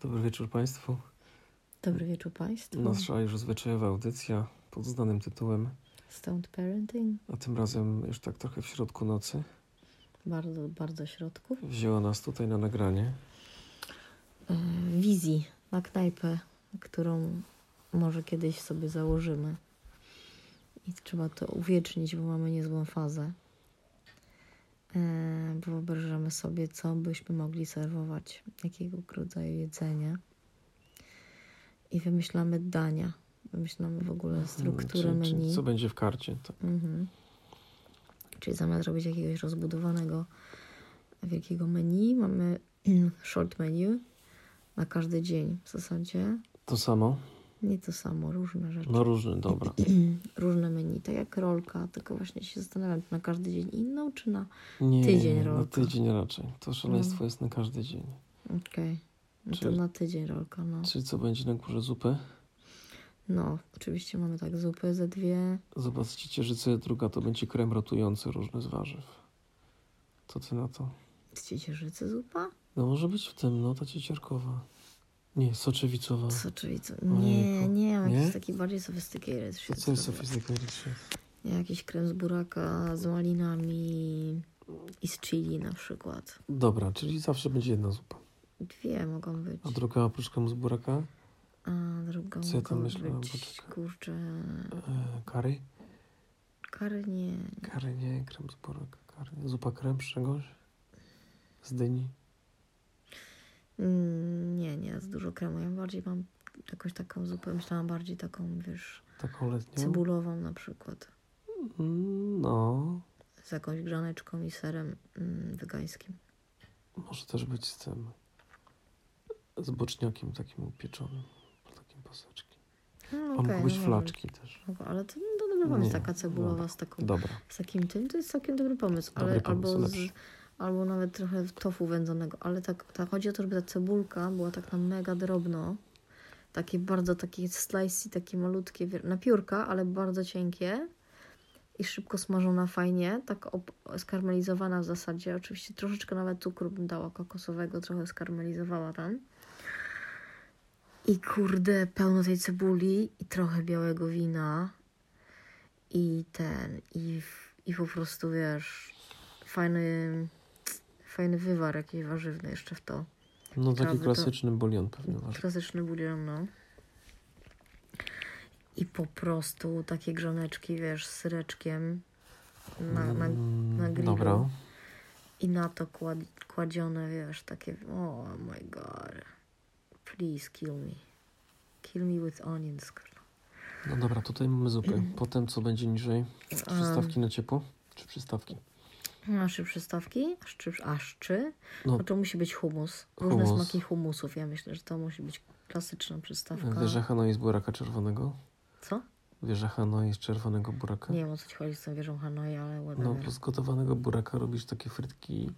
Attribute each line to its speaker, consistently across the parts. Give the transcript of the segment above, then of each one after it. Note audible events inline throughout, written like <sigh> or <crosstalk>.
Speaker 1: Dobry wieczór Państwu.
Speaker 2: Dobry wieczór Państwu.
Speaker 1: Nasza już zwyczajowa audycja pod znanym tytułem,
Speaker 2: Stąd Parenting.
Speaker 1: a tym razem już tak trochę w środku nocy.
Speaker 2: Bardzo, bardzo środków.
Speaker 1: Wzięła nas tutaj na nagranie.
Speaker 2: E, Wizji na knajpę, którą może kiedyś sobie założymy. I trzeba to uwiecznić, bo mamy niezłą fazę. E, bo Wyobrażamy sobie, co byśmy mogli serwować, jakiego rodzaju jedzenia. I wymyślamy dania. Wymyślamy w ogóle strukturę
Speaker 1: Mm, czy,
Speaker 2: menu.
Speaker 1: Czy, co będzie w karcie? Tak.
Speaker 2: Mhm. Czyli zamiast robić jakiegoś rozbudowanego wielkiego menu, mamy <clears throat> short menu na każdy dzień w zasadzie.
Speaker 1: To samo?
Speaker 2: Nie to samo, różne rzeczy. <clears throat>
Speaker 1: No różny, dobra.
Speaker 2: Różne menu, tak jak rolka, tylko właśnie się zastanawiam, czy na każdy dzień inną, czy na...
Speaker 1: Nie,
Speaker 2: Tydzień No.
Speaker 1: na
Speaker 2: rolka.
Speaker 1: tydzień raczej. To szaleństwo jest na każdy dzień.
Speaker 2: Okej, no to
Speaker 1: Czyli-
Speaker 2: na tydzień rolka, no.
Speaker 1: Czyli co będzie na górze zupy?
Speaker 2: No, oczywiście mamy tak zupy ze dwie,
Speaker 1: Zobaczcie ciecierzycę, druga to będzie krem rotujący różny z warzyw. Co ty na to?
Speaker 2: z ciecierzycy zupa?
Speaker 1: No może być w tym, no ta ciecierkowa. Nie, soczewicowa.
Speaker 2: Co, czyli co?
Speaker 1: Ojejku.
Speaker 2: Nie, nie, mam
Speaker 1: Nie?
Speaker 2: jakiś taki bardziej sophisticated.
Speaker 1: To
Speaker 2: shit
Speaker 1: co jest
Speaker 2: zrobiłam.
Speaker 1: sofistykated shit?
Speaker 2: Jakiś krem z buraka z malinami i z chili na przykład.
Speaker 1: Dobra, czyli zawsze będzie jedna zupa.
Speaker 2: Dwie mogą być.
Speaker 1: A druga oprócz kremu z buraka?
Speaker 2: A druga
Speaker 1: Co ja tam
Speaker 2: mogą
Speaker 1: myślałem?
Speaker 2: być,
Speaker 1: Poczekaj.
Speaker 2: kurczę,
Speaker 1: E, curry?
Speaker 2: kary nie.
Speaker 1: Curry nie, krem z buraka, curry. Zupa krem z czegoś? Z dyni?
Speaker 2: Mm, Nie, nie, z dużo kremu. Ja bardziej mam jakąś taką zupę, myślałam bardziej taką, wiesz,
Speaker 1: Taką letnią?
Speaker 2: cebulową na przykład.
Speaker 1: Mm, No,
Speaker 2: Z jakąś grzaneczką i serem mm, wegańskim.
Speaker 1: może też być z tym. Z boczniakiem takim upieczonym. Takim paseczkiem.
Speaker 2: No,
Speaker 1: A
Speaker 2: okej,
Speaker 1: mogą być
Speaker 2: no
Speaker 1: flaczki też.
Speaker 2: może. Ale to, no, to dobry pomysł,
Speaker 1: Nie,
Speaker 2: taka cebulowa
Speaker 1: dobra.
Speaker 2: z taką
Speaker 1: Dobra.
Speaker 2: Z takim tym to jest całkiem dobry pomysł,
Speaker 1: Dobry
Speaker 2: ale
Speaker 1: pomysł,
Speaker 2: albo, z,
Speaker 1: lepszy.
Speaker 2: albo nawet trochę w tofu wędzonego, ale tak, tak chodzi o to, żeby ta cebulka była tak na mega drobno, takie bardzo takie slicy, takie malutkie, wie- na piórka, ale bardzo cienkie i szybko smażona fajnie, tak op- skarmelizowana w zasadzie, oczywiście troszeczkę nawet cukru bym dała kokosowego, trochę skarmelizowała tam. I kurde, pełno tej cebuli i trochę białego wina i ten, i, w- i po prostu wiesz, fajny, fajny wywar jakiś warzywny jeszcze w to.
Speaker 1: No taki
Speaker 2: Prawda, to-
Speaker 1: klasyczny bulion pewnie masz.
Speaker 2: Klasyczny bulion, no. I po prostu takie grzaneczki, wiesz, z syreczkiem na, na,
Speaker 1: Mm,
Speaker 2: na grillu.
Speaker 1: Dobra.
Speaker 2: i na to kład, kładzione, wiesz, takie, oh my god, please kill me. Kill me with onions, kurwa.
Speaker 1: No dobra, tutaj mamy zupę. Potem co będzie niżej? Przystawki na ciepło? Czy przystawki?
Speaker 2: Nasze przystawki, aż czy, aż czy.
Speaker 1: No.
Speaker 2: No. To musi być humus. Różne
Speaker 1: Humus.
Speaker 2: smaki humusów. Ja myślę, że to musi być klasyczna przystawka.
Speaker 1: Wieżecha no i z buraka czerwonego?
Speaker 2: Co?
Speaker 1: Wieżecha no i z czerwonego buraka?
Speaker 2: Nie wiem o co ci chodzi z tą wieżą Hanoi, ale
Speaker 1: No,
Speaker 2: whatever.
Speaker 1: z gotowanego buraka robisz takie frytki,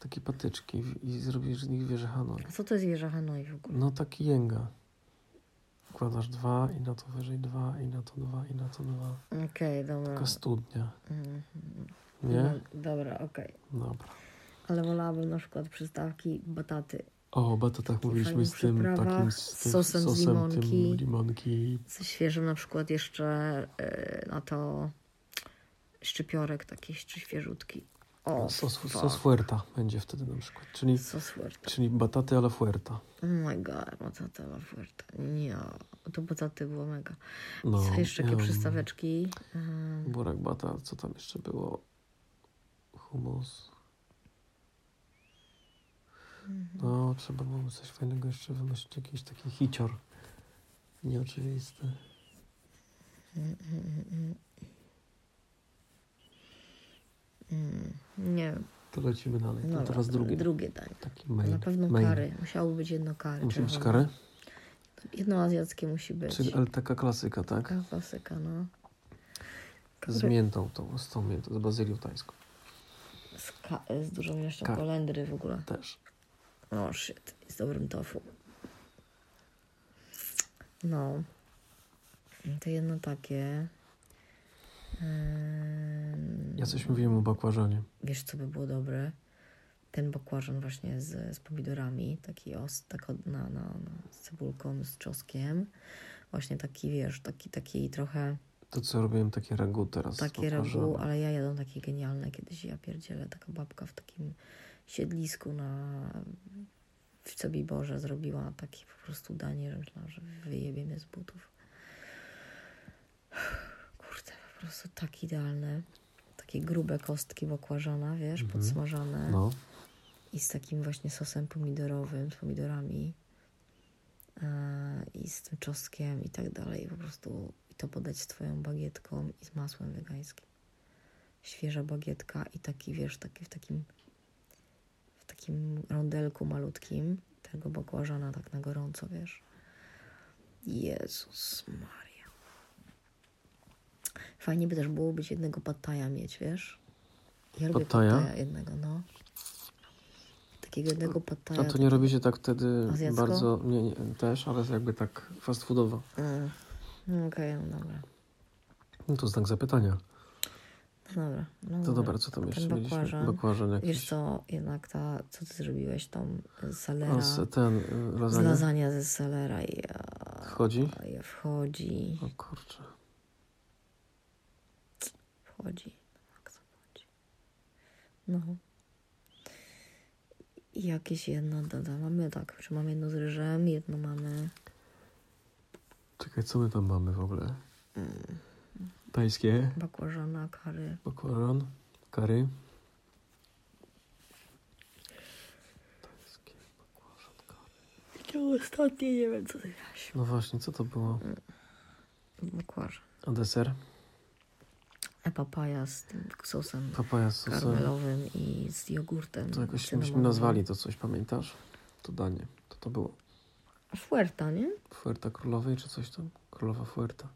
Speaker 1: takie patyczki w- i zrobisz z nich wieżecha no.
Speaker 2: A co to jest wieża Hanoi w ogóle?
Speaker 1: No taki jęga. Wkładasz dwa i na to wyżej dwa i na to dwa i na to dwa.
Speaker 2: Okej, dobra.
Speaker 1: Taka studnia,
Speaker 2: Mhm.
Speaker 1: nie?
Speaker 2: No, Dobra, okej.
Speaker 1: Dobra.
Speaker 2: Ale wolałabym na przykład przystawki bataty.
Speaker 1: O, bata tak
Speaker 2: Takie
Speaker 1: mówiliśmy
Speaker 2: fajne
Speaker 1: z tym
Speaker 2: przyprawa,
Speaker 1: takim z tym
Speaker 2: sosem z limonki.
Speaker 1: Tym limonki.
Speaker 2: Ze świeżym na przykład jeszcze y, na to szczypiorek taki jeszcze świeżutki. O,
Speaker 1: Sos,
Speaker 2: fuck.
Speaker 1: sos fuerta będzie wtedy na przykład, czyli,
Speaker 2: Sos fuerte.
Speaker 1: czyli bataty ale fuerta.
Speaker 2: Oh my god, batata la fuerte. Nie, to bataty było mega.
Speaker 1: No,
Speaker 2: Co jeszcze takie
Speaker 1: em,
Speaker 2: przystaweczki? Ym,
Speaker 1: Burak Bata, co tam jeszcze było? Humus.
Speaker 2: Mhm.
Speaker 1: No, trzeba było coś fajnego jeszcze wymyślić, jakiś taki hicior. Nieoczywisty.
Speaker 2: mm, Nie wiem.
Speaker 1: To lecimy dalej.
Speaker 2: No
Speaker 1: to teraz
Speaker 2: dobra,
Speaker 1: drugie. No
Speaker 2: Drugie danie.
Speaker 1: Taki main.
Speaker 2: Na pewno
Speaker 1: main.
Speaker 2: kary. Musiało być jedno kary.
Speaker 1: Musi być
Speaker 2: czerwone.
Speaker 1: kary?
Speaker 2: Jedno azjackie musi być.
Speaker 1: Czyli, ale taka klasyka, tak?
Speaker 2: Taka klasyka, no. Kary
Speaker 1: Z miętą tą, z tą miętą, z bazylią tajską.
Speaker 2: z, ka- z dużą ilością
Speaker 1: Kary.
Speaker 2: kolendry w ogóle.
Speaker 1: Też.
Speaker 2: No shit. I z dobrym tofu. No. To jedno takie. Ym,
Speaker 1: Ja coś mówiłem o bakłażanie.
Speaker 2: Wiesz, co by było dobre? ten bakłażan właśnie z, z pomidorami, taki os, tak od, na, na, na, z cebulką, z czosnkiem. Właśnie taki, wiesz, taki, taki trochę
Speaker 1: To co robiłem, takie ragu teraz. z
Speaker 2: takie ragu,
Speaker 1: bakłażanem.
Speaker 2: ale ja jadłam takie genialne kiedyś, ja pierdzielę, taka babka w takim siedlisku na w Sobiborze zrobiła takie po prostu danie, że myślałam, że wyjebie mnie z butów. Kurde, po prostu tak idealne. Takie grube kostki bakłażana, wiesz,
Speaker 1: Mhm.
Speaker 2: podsmażane
Speaker 1: No,
Speaker 2: i z takim właśnie sosem pomidorowym, z pomidorami e, i z tym czosnkiem i tak dalej. Po prostu i to podać z twoją bagietką i z masłem wegańskim. Świeża bagietka i taki, wiesz, taki w takim w takim rondelku malutkim tego bakłażana tak na gorąco, wiesz. Jezus Maria. Fajnie by też było być jednego pataja mieć, wiesz? Ja lubię
Speaker 1: Pattaja?
Speaker 2: pataja jednego, no. Takiego jednego
Speaker 1: a
Speaker 2: pataja.
Speaker 1: to nie robi się tak wtedy
Speaker 2: Azjacko?
Speaker 1: bardzo, nie, nie, też, ale jakby tak fast foodowo.
Speaker 2: Mm. No Okej, no dobra.
Speaker 1: No to znak zapytania.
Speaker 2: No dobra. No
Speaker 1: To dobra, co tam
Speaker 2: Ten
Speaker 1: jeszcze mieliśmy?
Speaker 2: bakłażan.
Speaker 1: Bakłażan
Speaker 2: Wiesz
Speaker 1: jakiś.
Speaker 2: co, jednak ta, co ty zrobiłeś tam z
Speaker 1: O,
Speaker 2: salera,
Speaker 1: z- ten, y,
Speaker 2: z
Speaker 1: lasagna
Speaker 2: lasagna ze salera i ja,
Speaker 1: wchodzi?
Speaker 2: ja wchodzi,
Speaker 1: O kurczę.
Speaker 2: wchodzi, tak to wchodzi. No. I jakieś jedno dodam. Mamy tak, czy mam jedno z ryżem, jedno mamy
Speaker 1: Czekaj, co my tam mamy w ogóle?
Speaker 2: Mm.
Speaker 1: Tajskie,
Speaker 2: bakłażana, kary.
Speaker 1: bakłażan, curry. Tajskie, bakłażan, curry.
Speaker 2: I to ostatnie, nie wiem co ty miałeś.
Speaker 1: No właśnie, co to było?
Speaker 2: Bakłażan.
Speaker 1: A deser?
Speaker 2: A papaja z tym sosem
Speaker 1: Papaja z sosem.
Speaker 2: karmelowym i z jogurtem.
Speaker 1: To jakoś myśmy
Speaker 2: cynamonowym.
Speaker 1: nazwali to coś, pamiętasz? To danie. To to było.
Speaker 2: Fuerta, nie?
Speaker 1: Fuerta Królowej czy coś tam? Królowa Fuerta.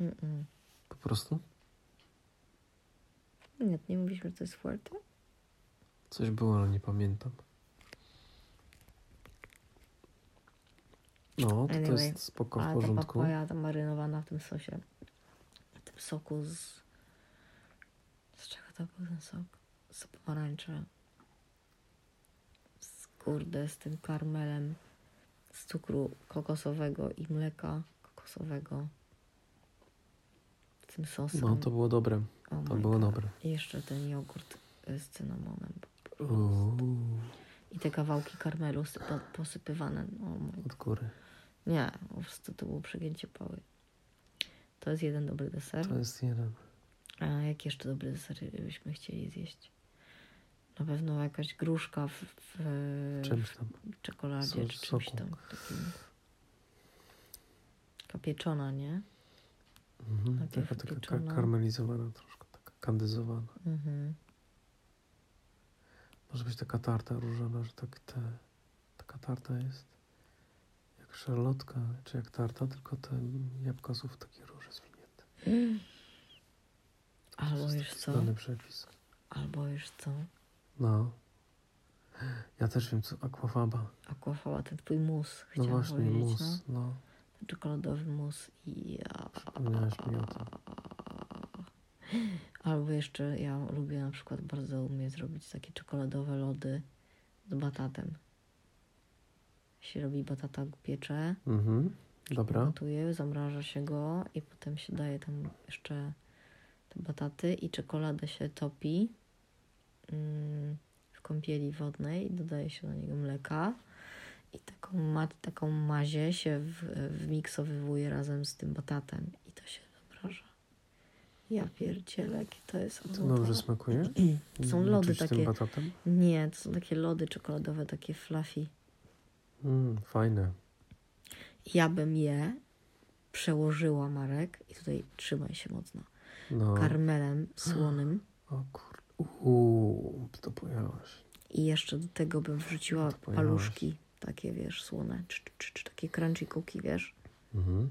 Speaker 2: Mm-mm.
Speaker 1: Po prostu?
Speaker 2: Nie, nie mówiliśmy, że to jest fuerte.
Speaker 1: Coś było, ale nie pamiętam. No, to, to
Speaker 2: Anyway,
Speaker 1: jest spoko, w
Speaker 2: Ale ta
Speaker 1: porządku.
Speaker 2: papaja tam marynowana w tym sosie. W tym soku z... Z czego to był ten sok? Z pomarańczy. Z kurde, z tym karmelem. Z cukru kokosowego i mleka kokosowego. Z tym sosem.
Speaker 1: No, to było dobre.
Speaker 2: Oh
Speaker 1: To
Speaker 2: my
Speaker 1: było
Speaker 2: God.
Speaker 1: dobre.
Speaker 2: I jeszcze ten jogurt y, z cynamonem.
Speaker 1: Uuu,
Speaker 2: I te kawałki karmelu sypa- posypywane. O my
Speaker 1: od góry.
Speaker 2: Nie, po prostu to było przegięcie pały. To jest jeden dobry deser.
Speaker 1: To jest jeden.
Speaker 2: A jakie jeszcze dobre desery byśmy chcieli zjeść? Na pewno jakaś gruszka w, w,
Speaker 1: Czymś tam.
Speaker 2: w czekoladzie
Speaker 1: So-
Speaker 2: czy czymś
Speaker 1: soku.
Speaker 2: tam. Takim. Taka pieczona, nie?
Speaker 1: Mhm.
Speaker 2: Najpierw
Speaker 1: Taka, taka ka-
Speaker 2: pieczona.
Speaker 1: karmelizowana troszkę, taka kandyzowana.
Speaker 2: Mhm.
Speaker 1: Może być taka tarta różana, że tak te, taka tarta jest jak szarlotka, czy jak tarta, tylko te jabłka są w takie róże zwinięte.
Speaker 2: Albo
Speaker 1: jest
Speaker 2: wiesz
Speaker 1: taki
Speaker 2: co?
Speaker 1: Znany przepis.
Speaker 2: Albo wiesz co?
Speaker 1: No. Ja też wiem, co aquafaba.
Speaker 2: Aquafaba, ten twój mus.
Speaker 1: No
Speaker 2: Chciałam
Speaker 1: właśnie,
Speaker 2: powiedzieć,
Speaker 1: mus.
Speaker 2: No?
Speaker 1: No.
Speaker 2: Ten czekoladowy mus i ja...
Speaker 1: Przypomniałaś mi o tym.
Speaker 2: Albo jeszcze ja lubię na przykład bardzo umiem zrobić takie czekoladowe lody z batatem. Się robi batata piecze,
Speaker 1: Mhm. Dobra.
Speaker 2: gotuje, zamraża się go i potem się daje tam jeszcze te bataty i czekoladę się topi mm, w kąpieli wodnej, dodaje się do niego mleka i taką, ma- taką mazię się w- wmiksowywuje razem z tym batatem i to się zamraża. Ja pierdzielę, jakie to jest
Speaker 1: No, To dobrze
Speaker 2: owocowe.
Speaker 1: smakuje?
Speaker 2: <clears throat>
Speaker 1: Mm,
Speaker 2: Są lody
Speaker 1: Czuć tym
Speaker 2: takie.
Speaker 1: batatem?
Speaker 2: Nie, to są takie lody czekoladowe, takie fluffy.
Speaker 1: Mm, fajne.
Speaker 2: Ja bym je przełożyła, Marek, i tutaj trzymaj się mocno,
Speaker 1: No.
Speaker 2: karmelem słonym
Speaker 1: O kurde. Uuu, to pojałaś.
Speaker 2: i jeszcze do tego bym wrzuciła
Speaker 1: To pojechałaś.
Speaker 2: paluszki, takie, wiesz, słone, czy, czy, czy, czy takie crunchy cookie, wiesz.
Speaker 1: Mhm.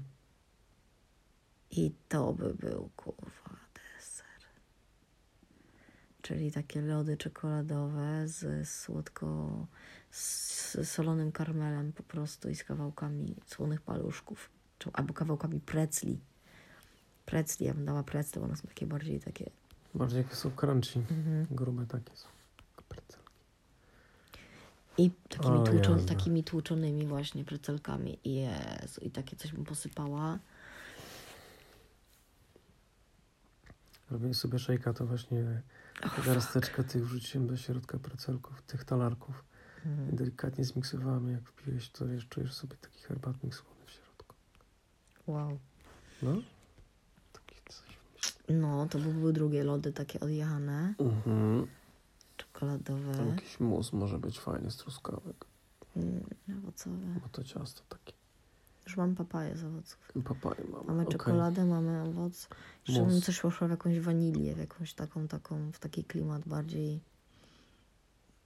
Speaker 2: I to by był, kurwa, deser. Czyli takie lody czekoladowe z słodko... z solonym karmelem po prostu i z kawałkami słonych paluszków. Czy, albo kawałkami precli. Precli, ja bym dała precle, bo one są takie bardziej takie...
Speaker 1: Mhm. Bardziej są crunchy. Grube takie są. Percelki.
Speaker 2: I takimi,
Speaker 1: O,
Speaker 2: tłuczon,
Speaker 1: jazda.
Speaker 2: takimi tłuczonymi właśnie precelkami. Jezu, i takie coś mu posypała.
Speaker 1: Robię sobie szejka, to właśnie
Speaker 2: Oh,
Speaker 1: garsteczkę tych wrzuciłem do środka precelków, tych talarków. I delikatnie zmiksowałem. Jak wpiłeś, to wiesz, czujesz sobie taki herbatnik słony w środku.
Speaker 2: Wow.
Speaker 1: No? Taki coś.
Speaker 2: No, to były drugie lody takie odjechane,
Speaker 1: Mhm. Tam
Speaker 2: czekoladowe,
Speaker 1: jakiś mus może być fajny z truskawek.
Speaker 2: mm, owocowe.
Speaker 1: Bo to ciasto takie.
Speaker 2: Już mam papaję z owoców.
Speaker 1: Papaję mam.
Speaker 2: Mamy
Speaker 1: Okej.
Speaker 2: czekoladę, mamy owoc. Jeszcze
Speaker 1: Mus.
Speaker 2: bym coś poszła w jakąś wanilię, w jakąś taką, taką, w taki klimat bardziej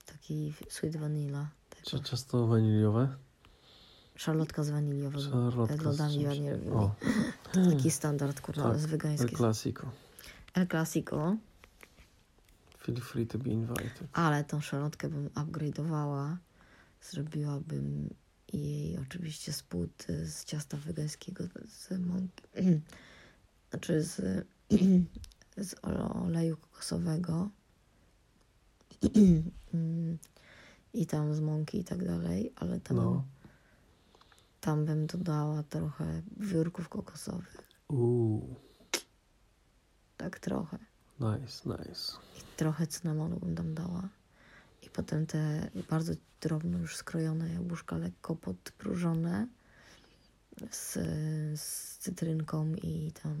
Speaker 2: taki sweet vanilla.
Speaker 1: Cia-
Speaker 2: Tego.
Speaker 1: Ciasto waniliowe?
Speaker 2: Szarlotka z waniliowego.
Speaker 1: Szarlotka z
Speaker 2: lodami
Speaker 1: czymś.
Speaker 2: waniliowymi.
Speaker 1: O,
Speaker 2: To taki standard, kurwa,
Speaker 1: Tak,
Speaker 2: ale z
Speaker 1: El
Speaker 2: wegańskiej.
Speaker 1: Clasico.
Speaker 2: El Clasico.
Speaker 1: Feel free to be invited.
Speaker 2: Ale tą szalotkę bym upgrade'owała. Zrobiłabym jej oczywiście spód y, z ciasta wegańskiego z mąki. <clears throat> Znaczy z, <clears throat> z oleju kokosowego. <clears throat> Mm, I tam z mąki i tak dalej, ale tam,
Speaker 1: No.
Speaker 2: tam bym dodała trochę wiórków kokosowych.
Speaker 1: Uuu,
Speaker 2: Tak trochę.
Speaker 1: nice, nice.
Speaker 2: I trochę cynamonu bym tam dała. I potem te bardzo drobno już skrojone jabłuszka, lekko podpróżone z, z cytrynką i tam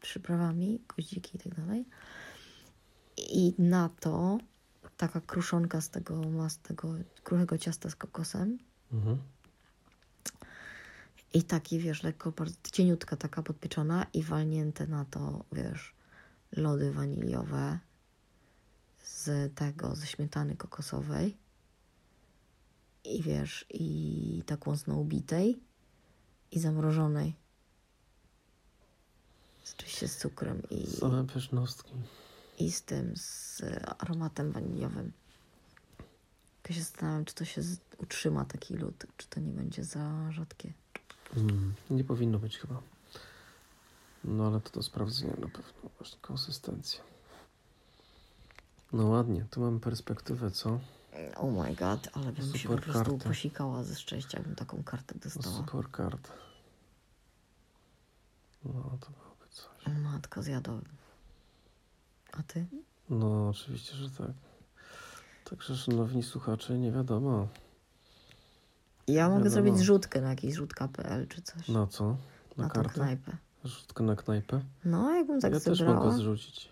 Speaker 2: przyprawami, goździki i tak dalej. I na to taka kruszonka z tego, mas- tego kruchego ciasta z kokosem.
Speaker 1: Mhm.
Speaker 2: I taki, wiesz, lekko, bardzo cieniutka taka podpieczona i walnięte na to, wiesz, lody waniliowe z tego, ze śmietany kokosowej i wiesz, i tak mocno ubitej i zamrożonej. Z- Oczywiście z cukrem i,
Speaker 1: Same pysznostki.
Speaker 2: i z tym, z aromatem waniliowym. Tylko się zastanawiam, czy to się z- utrzyma taki lód, czy to nie będzie za rzadkie.
Speaker 1: Mm, nie powinno być chyba. No ale to do sprawdzenia na pewno. Właśnie konsystencja. No ładnie, tu mamy perspektywę, co?
Speaker 2: Oh my god, ale bym się po
Speaker 1: Super
Speaker 2: prostu
Speaker 1: karta.
Speaker 2: posikała ze szczęścia, jakbym taką kartę
Speaker 1: No,
Speaker 2: dostała.
Speaker 1: super kart. No to byłoby coś.
Speaker 2: Matko, zjadłabym. A ty?
Speaker 1: No oczywiście, że tak. Także szanowni słuchacze, nie wiadomo.
Speaker 2: Ja mogę
Speaker 1: Wiadomo.
Speaker 2: zrobić zrzutkę na jakiś zrzutka.pl czy coś.
Speaker 1: Na co? no. Na,
Speaker 2: na tą
Speaker 1: kartę?
Speaker 2: knajpę.
Speaker 1: Rzutkę na knajpę?
Speaker 2: No, jakbym tak
Speaker 1: ja też
Speaker 2: zebrała.
Speaker 1: mogę zrzucić.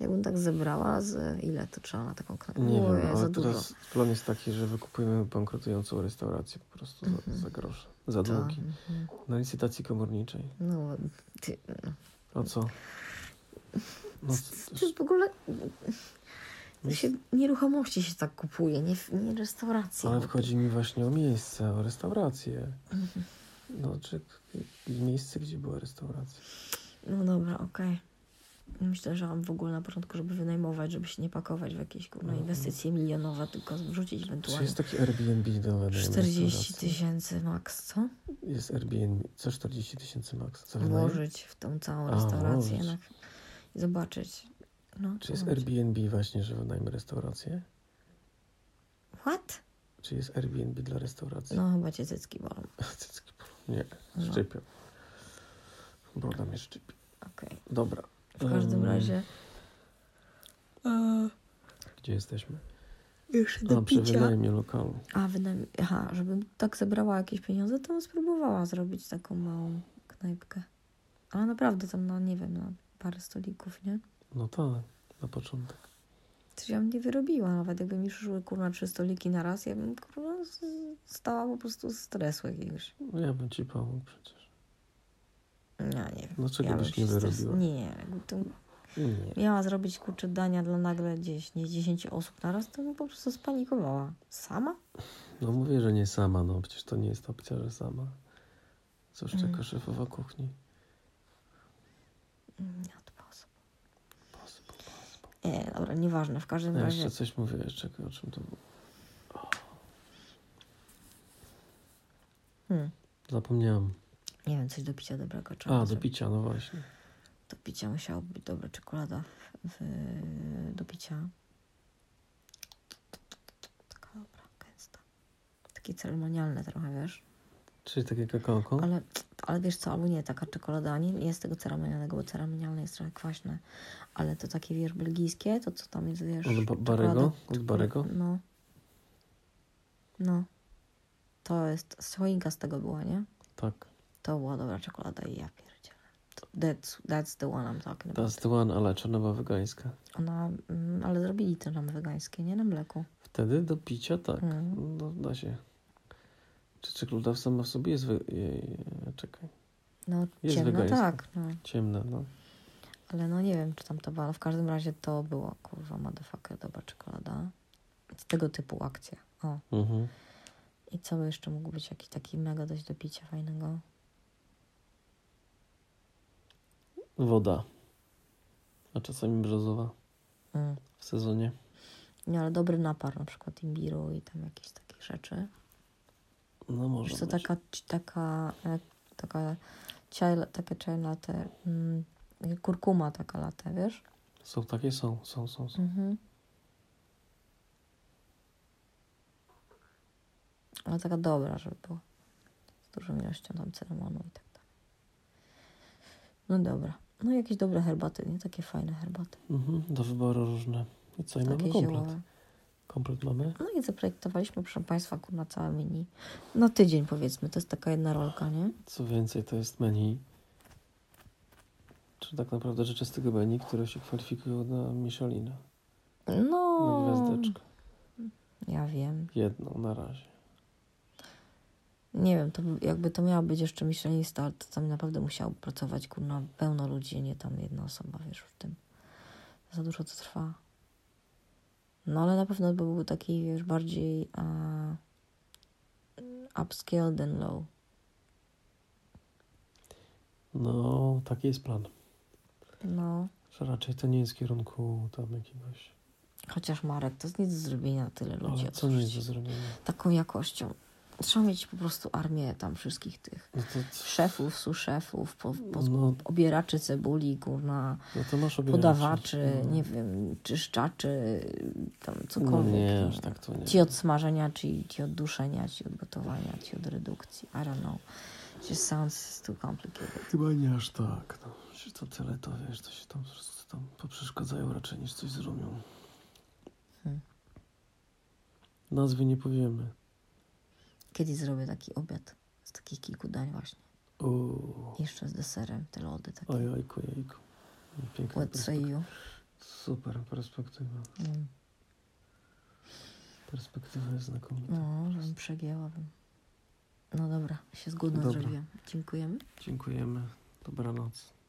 Speaker 2: Jakbym tak zebrała, z ile to trzeba na taką knajpę?
Speaker 1: Nie
Speaker 2: Ojej,
Speaker 1: wiem, ale
Speaker 2: za
Speaker 1: teraz plan jest taki, że wykupujemy bankrutującą restaurację po prostu za,
Speaker 2: Mhm.
Speaker 1: za grosze, za
Speaker 2: dużo. To-
Speaker 1: długi.
Speaker 2: mhm.
Speaker 1: Na licytacji komorniczej.
Speaker 2: No, ty,
Speaker 1: A co? No, c-
Speaker 2: ty w ogóle
Speaker 1: c-
Speaker 2: się, nieruchomości się tak kupuje, nie, nie restauracje.
Speaker 1: ale wchodzi mi właśnie o miejsce, o restaurację.
Speaker 2: Mhm.
Speaker 1: No, czy k- miejsce, gdzie była restauracja.
Speaker 2: No dobra, okej. Myślę, że mam w ogóle na początku, żeby wynajmować, żeby się nie pakować w jakieś kurwa
Speaker 1: Mhm.
Speaker 2: inwestycje milionowe, tylko wrzucić
Speaker 1: Czy
Speaker 2: ewentualnie.
Speaker 1: jest taki Airbnb do wynajmu
Speaker 2: 40
Speaker 1: restauracji?
Speaker 2: tysięcy max, co?
Speaker 1: Jest Airbnb. Co 40 tysięcy max? Co wynajem?
Speaker 2: Włożyć w tą całą
Speaker 1: A,
Speaker 2: restaurację
Speaker 1: włożyć.
Speaker 2: na... i zobaczyć. No,
Speaker 1: Czy jest
Speaker 2: zobacz.
Speaker 1: Airbnb właśnie, że wynajmę restaurację?
Speaker 2: What?
Speaker 1: Czy jest Airbnb dla restauracji? <laughs>
Speaker 2: No chyba cię cycki bolą.
Speaker 1: Cycki bolą. Nie,
Speaker 2: No.
Speaker 1: szczypią. Broda mnie szczypi.
Speaker 2: Okej.
Speaker 1: Dobra.
Speaker 2: W każdym
Speaker 1: Em,
Speaker 2: razie... E,
Speaker 1: Gdzie jesteśmy?
Speaker 2: jeszcze
Speaker 1: A,
Speaker 2: do
Speaker 1: przy
Speaker 2: picia.
Speaker 1: wynajmie lokalu.
Speaker 2: A, wynajm... Aha, żebym tak zebrała jakieś pieniądze, to bym spróbowała zrobić taką małą knajpkę. Ale naprawdę tam, no nie wiem, na parę stolików, nie?
Speaker 1: No tak, No
Speaker 2: No,
Speaker 1: No No
Speaker 2: Mhm.
Speaker 1: no
Speaker 2: No tak hmm, taki ceremonialny trochę, wiesz?
Speaker 1: Czyli takie kakałko.
Speaker 2: Ale, ale wiesz co, albo nie, taka czekolada, nie, nie jest tego ceremonialnego, bo ceremonialne jest trochę kwaśne, ale to takie, wiesz, belgijskie, to co tam jest, wiesz...
Speaker 1: Od ba-
Speaker 2: czekolada-
Speaker 1: Barego? Od
Speaker 2: czekol-
Speaker 1: Barego?
Speaker 2: No. No. To jest, słoinka z tego była, nie?
Speaker 1: Tak.
Speaker 2: To była dobra czekolada i ja pierdzielę. To- That's, that's the one I'm talking about.
Speaker 1: That's the one, ale czarna była wegańska.
Speaker 2: Ona, mm, ale zrobili to nam wegańskie, nie na mleku.
Speaker 1: Wtedy do picia tak.
Speaker 2: Mm.
Speaker 1: No, da się. Czy czekolodawca ma w sobie jest... We... je- je- Czekaj.
Speaker 2: No
Speaker 1: Jest
Speaker 2: ciemno
Speaker 1: wegańskie.
Speaker 2: tak, no.
Speaker 1: Ciemna, no.
Speaker 2: Ale no nie wiem, czy tam to była. No w każdym razie to było, kurwa, motherfucker, dobra czekolada. Tego typu akcje. O.
Speaker 1: Mhm.
Speaker 2: I co by jeszcze mógł być jakiś taki mega dość do picia fajnego?
Speaker 1: Woda. A czasami brzozowa
Speaker 2: Mm.
Speaker 1: w sezonie.
Speaker 2: Nie, ale dobry napar, na przykład imbiru i tam jakieś takich rzeczy.
Speaker 1: No może
Speaker 2: Wiesz co,
Speaker 1: być.
Speaker 2: taka, ci- taka, e, taka, chai, takie chai latte, mm, kurkuma taka latte, wiesz?
Speaker 1: Są takie? Są, są, są. są.
Speaker 2: Mhm. Ale taka dobra, żeby była. Z dużą ilością tam cynamonu i tak dalej. No dobra. No i jakieś dobre herbaty, nie? Takie fajne herbaty.
Speaker 1: Mhm. Do wyboru różne. I co? I mamy
Speaker 2: Takie
Speaker 1: komplet.
Speaker 2: ziołowe.
Speaker 1: Komplet mamy?
Speaker 2: No i zaprojektowaliśmy, proszę Państwa, kurna całe mini. Na tydzień powiedzmy, to jest taka jedna rolka, nie?
Speaker 1: Co więcej, to jest menu. Czy tak naprawdę rzeczy z tego menu, które się kwalifikują na Michelina, na
Speaker 2: No.
Speaker 1: gwiazdeczkę.
Speaker 2: Ja wiem.
Speaker 1: Jedną na razie.
Speaker 2: Nie wiem, to by- jakby to miała być jeszcze myślenista, to tam naprawdę musiało pracować kurna pełno ludzi, nie tam jedna osoba, wiesz, w tym. Za dużo to trwa. No ale na pewno by był taki, wiesz, bardziej e, upscale than low.
Speaker 1: No, taki jest plan.
Speaker 2: No,
Speaker 1: Że raczej to nie jest w kierunku tam jakiegoś.
Speaker 2: chociaż Marek, to jest nic do zrobienia, tyle ludzi
Speaker 1: Ale co nie jest do
Speaker 2: odrzucić.
Speaker 1: zrobienia?
Speaker 2: Taką jakością. Trzeba mieć po prostu armię tam wszystkich tych
Speaker 1: No to, c-
Speaker 2: szefów, suszefów, po, po,
Speaker 1: no,
Speaker 2: obieraczy cebuli, kurna,
Speaker 1: no to masz obieraczy.
Speaker 2: podawaczy,
Speaker 1: No.
Speaker 2: nie wiem, czyszczaczy, tam
Speaker 1: No
Speaker 2: cokolwiek.
Speaker 1: nie,
Speaker 2: no.
Speaker 1: aż tak to nie.
Speaker 2: Ci od smażenia, ci, ci od duszenia, ci od gotowania, ci od redukcji. I don't know. It just sounds too complicated.
Speaker 1: Chyba nie aż tak. No, Przecież to tyle to wiesz, to się tam wszyscy tam poprzeszkadzają raczej niż coś zrobią.
Speaker 2: Hmm.
Speaker 1: Nazwy nie powiemy.
Speaker 2: Kiedyś zrobię taki obiad z takich kilku dań właśnie.
Speaker 1: Uuu,
Speaker 2: Jeszcze z deserem, te lody
Speaker 1: o
Speaker 2: takie.
Speaker 1: jajku, jajku. Piękna
Speaker 2: What say
Speaker 1: perspektywa.
Speaker 2: you?
Speaker 1: Super perspektywa.
Speaker 2: Mm.
Speaker 1: Perspektywa jest znakomita.
Speaker 2: No, żebym przegięłabym. No dobra, się zgódno
Speaker 1: Dobra.
Speaker 2: zrobiłam. Dziękujemy.
Speaker 1: Dziękujemy. Dobranoc.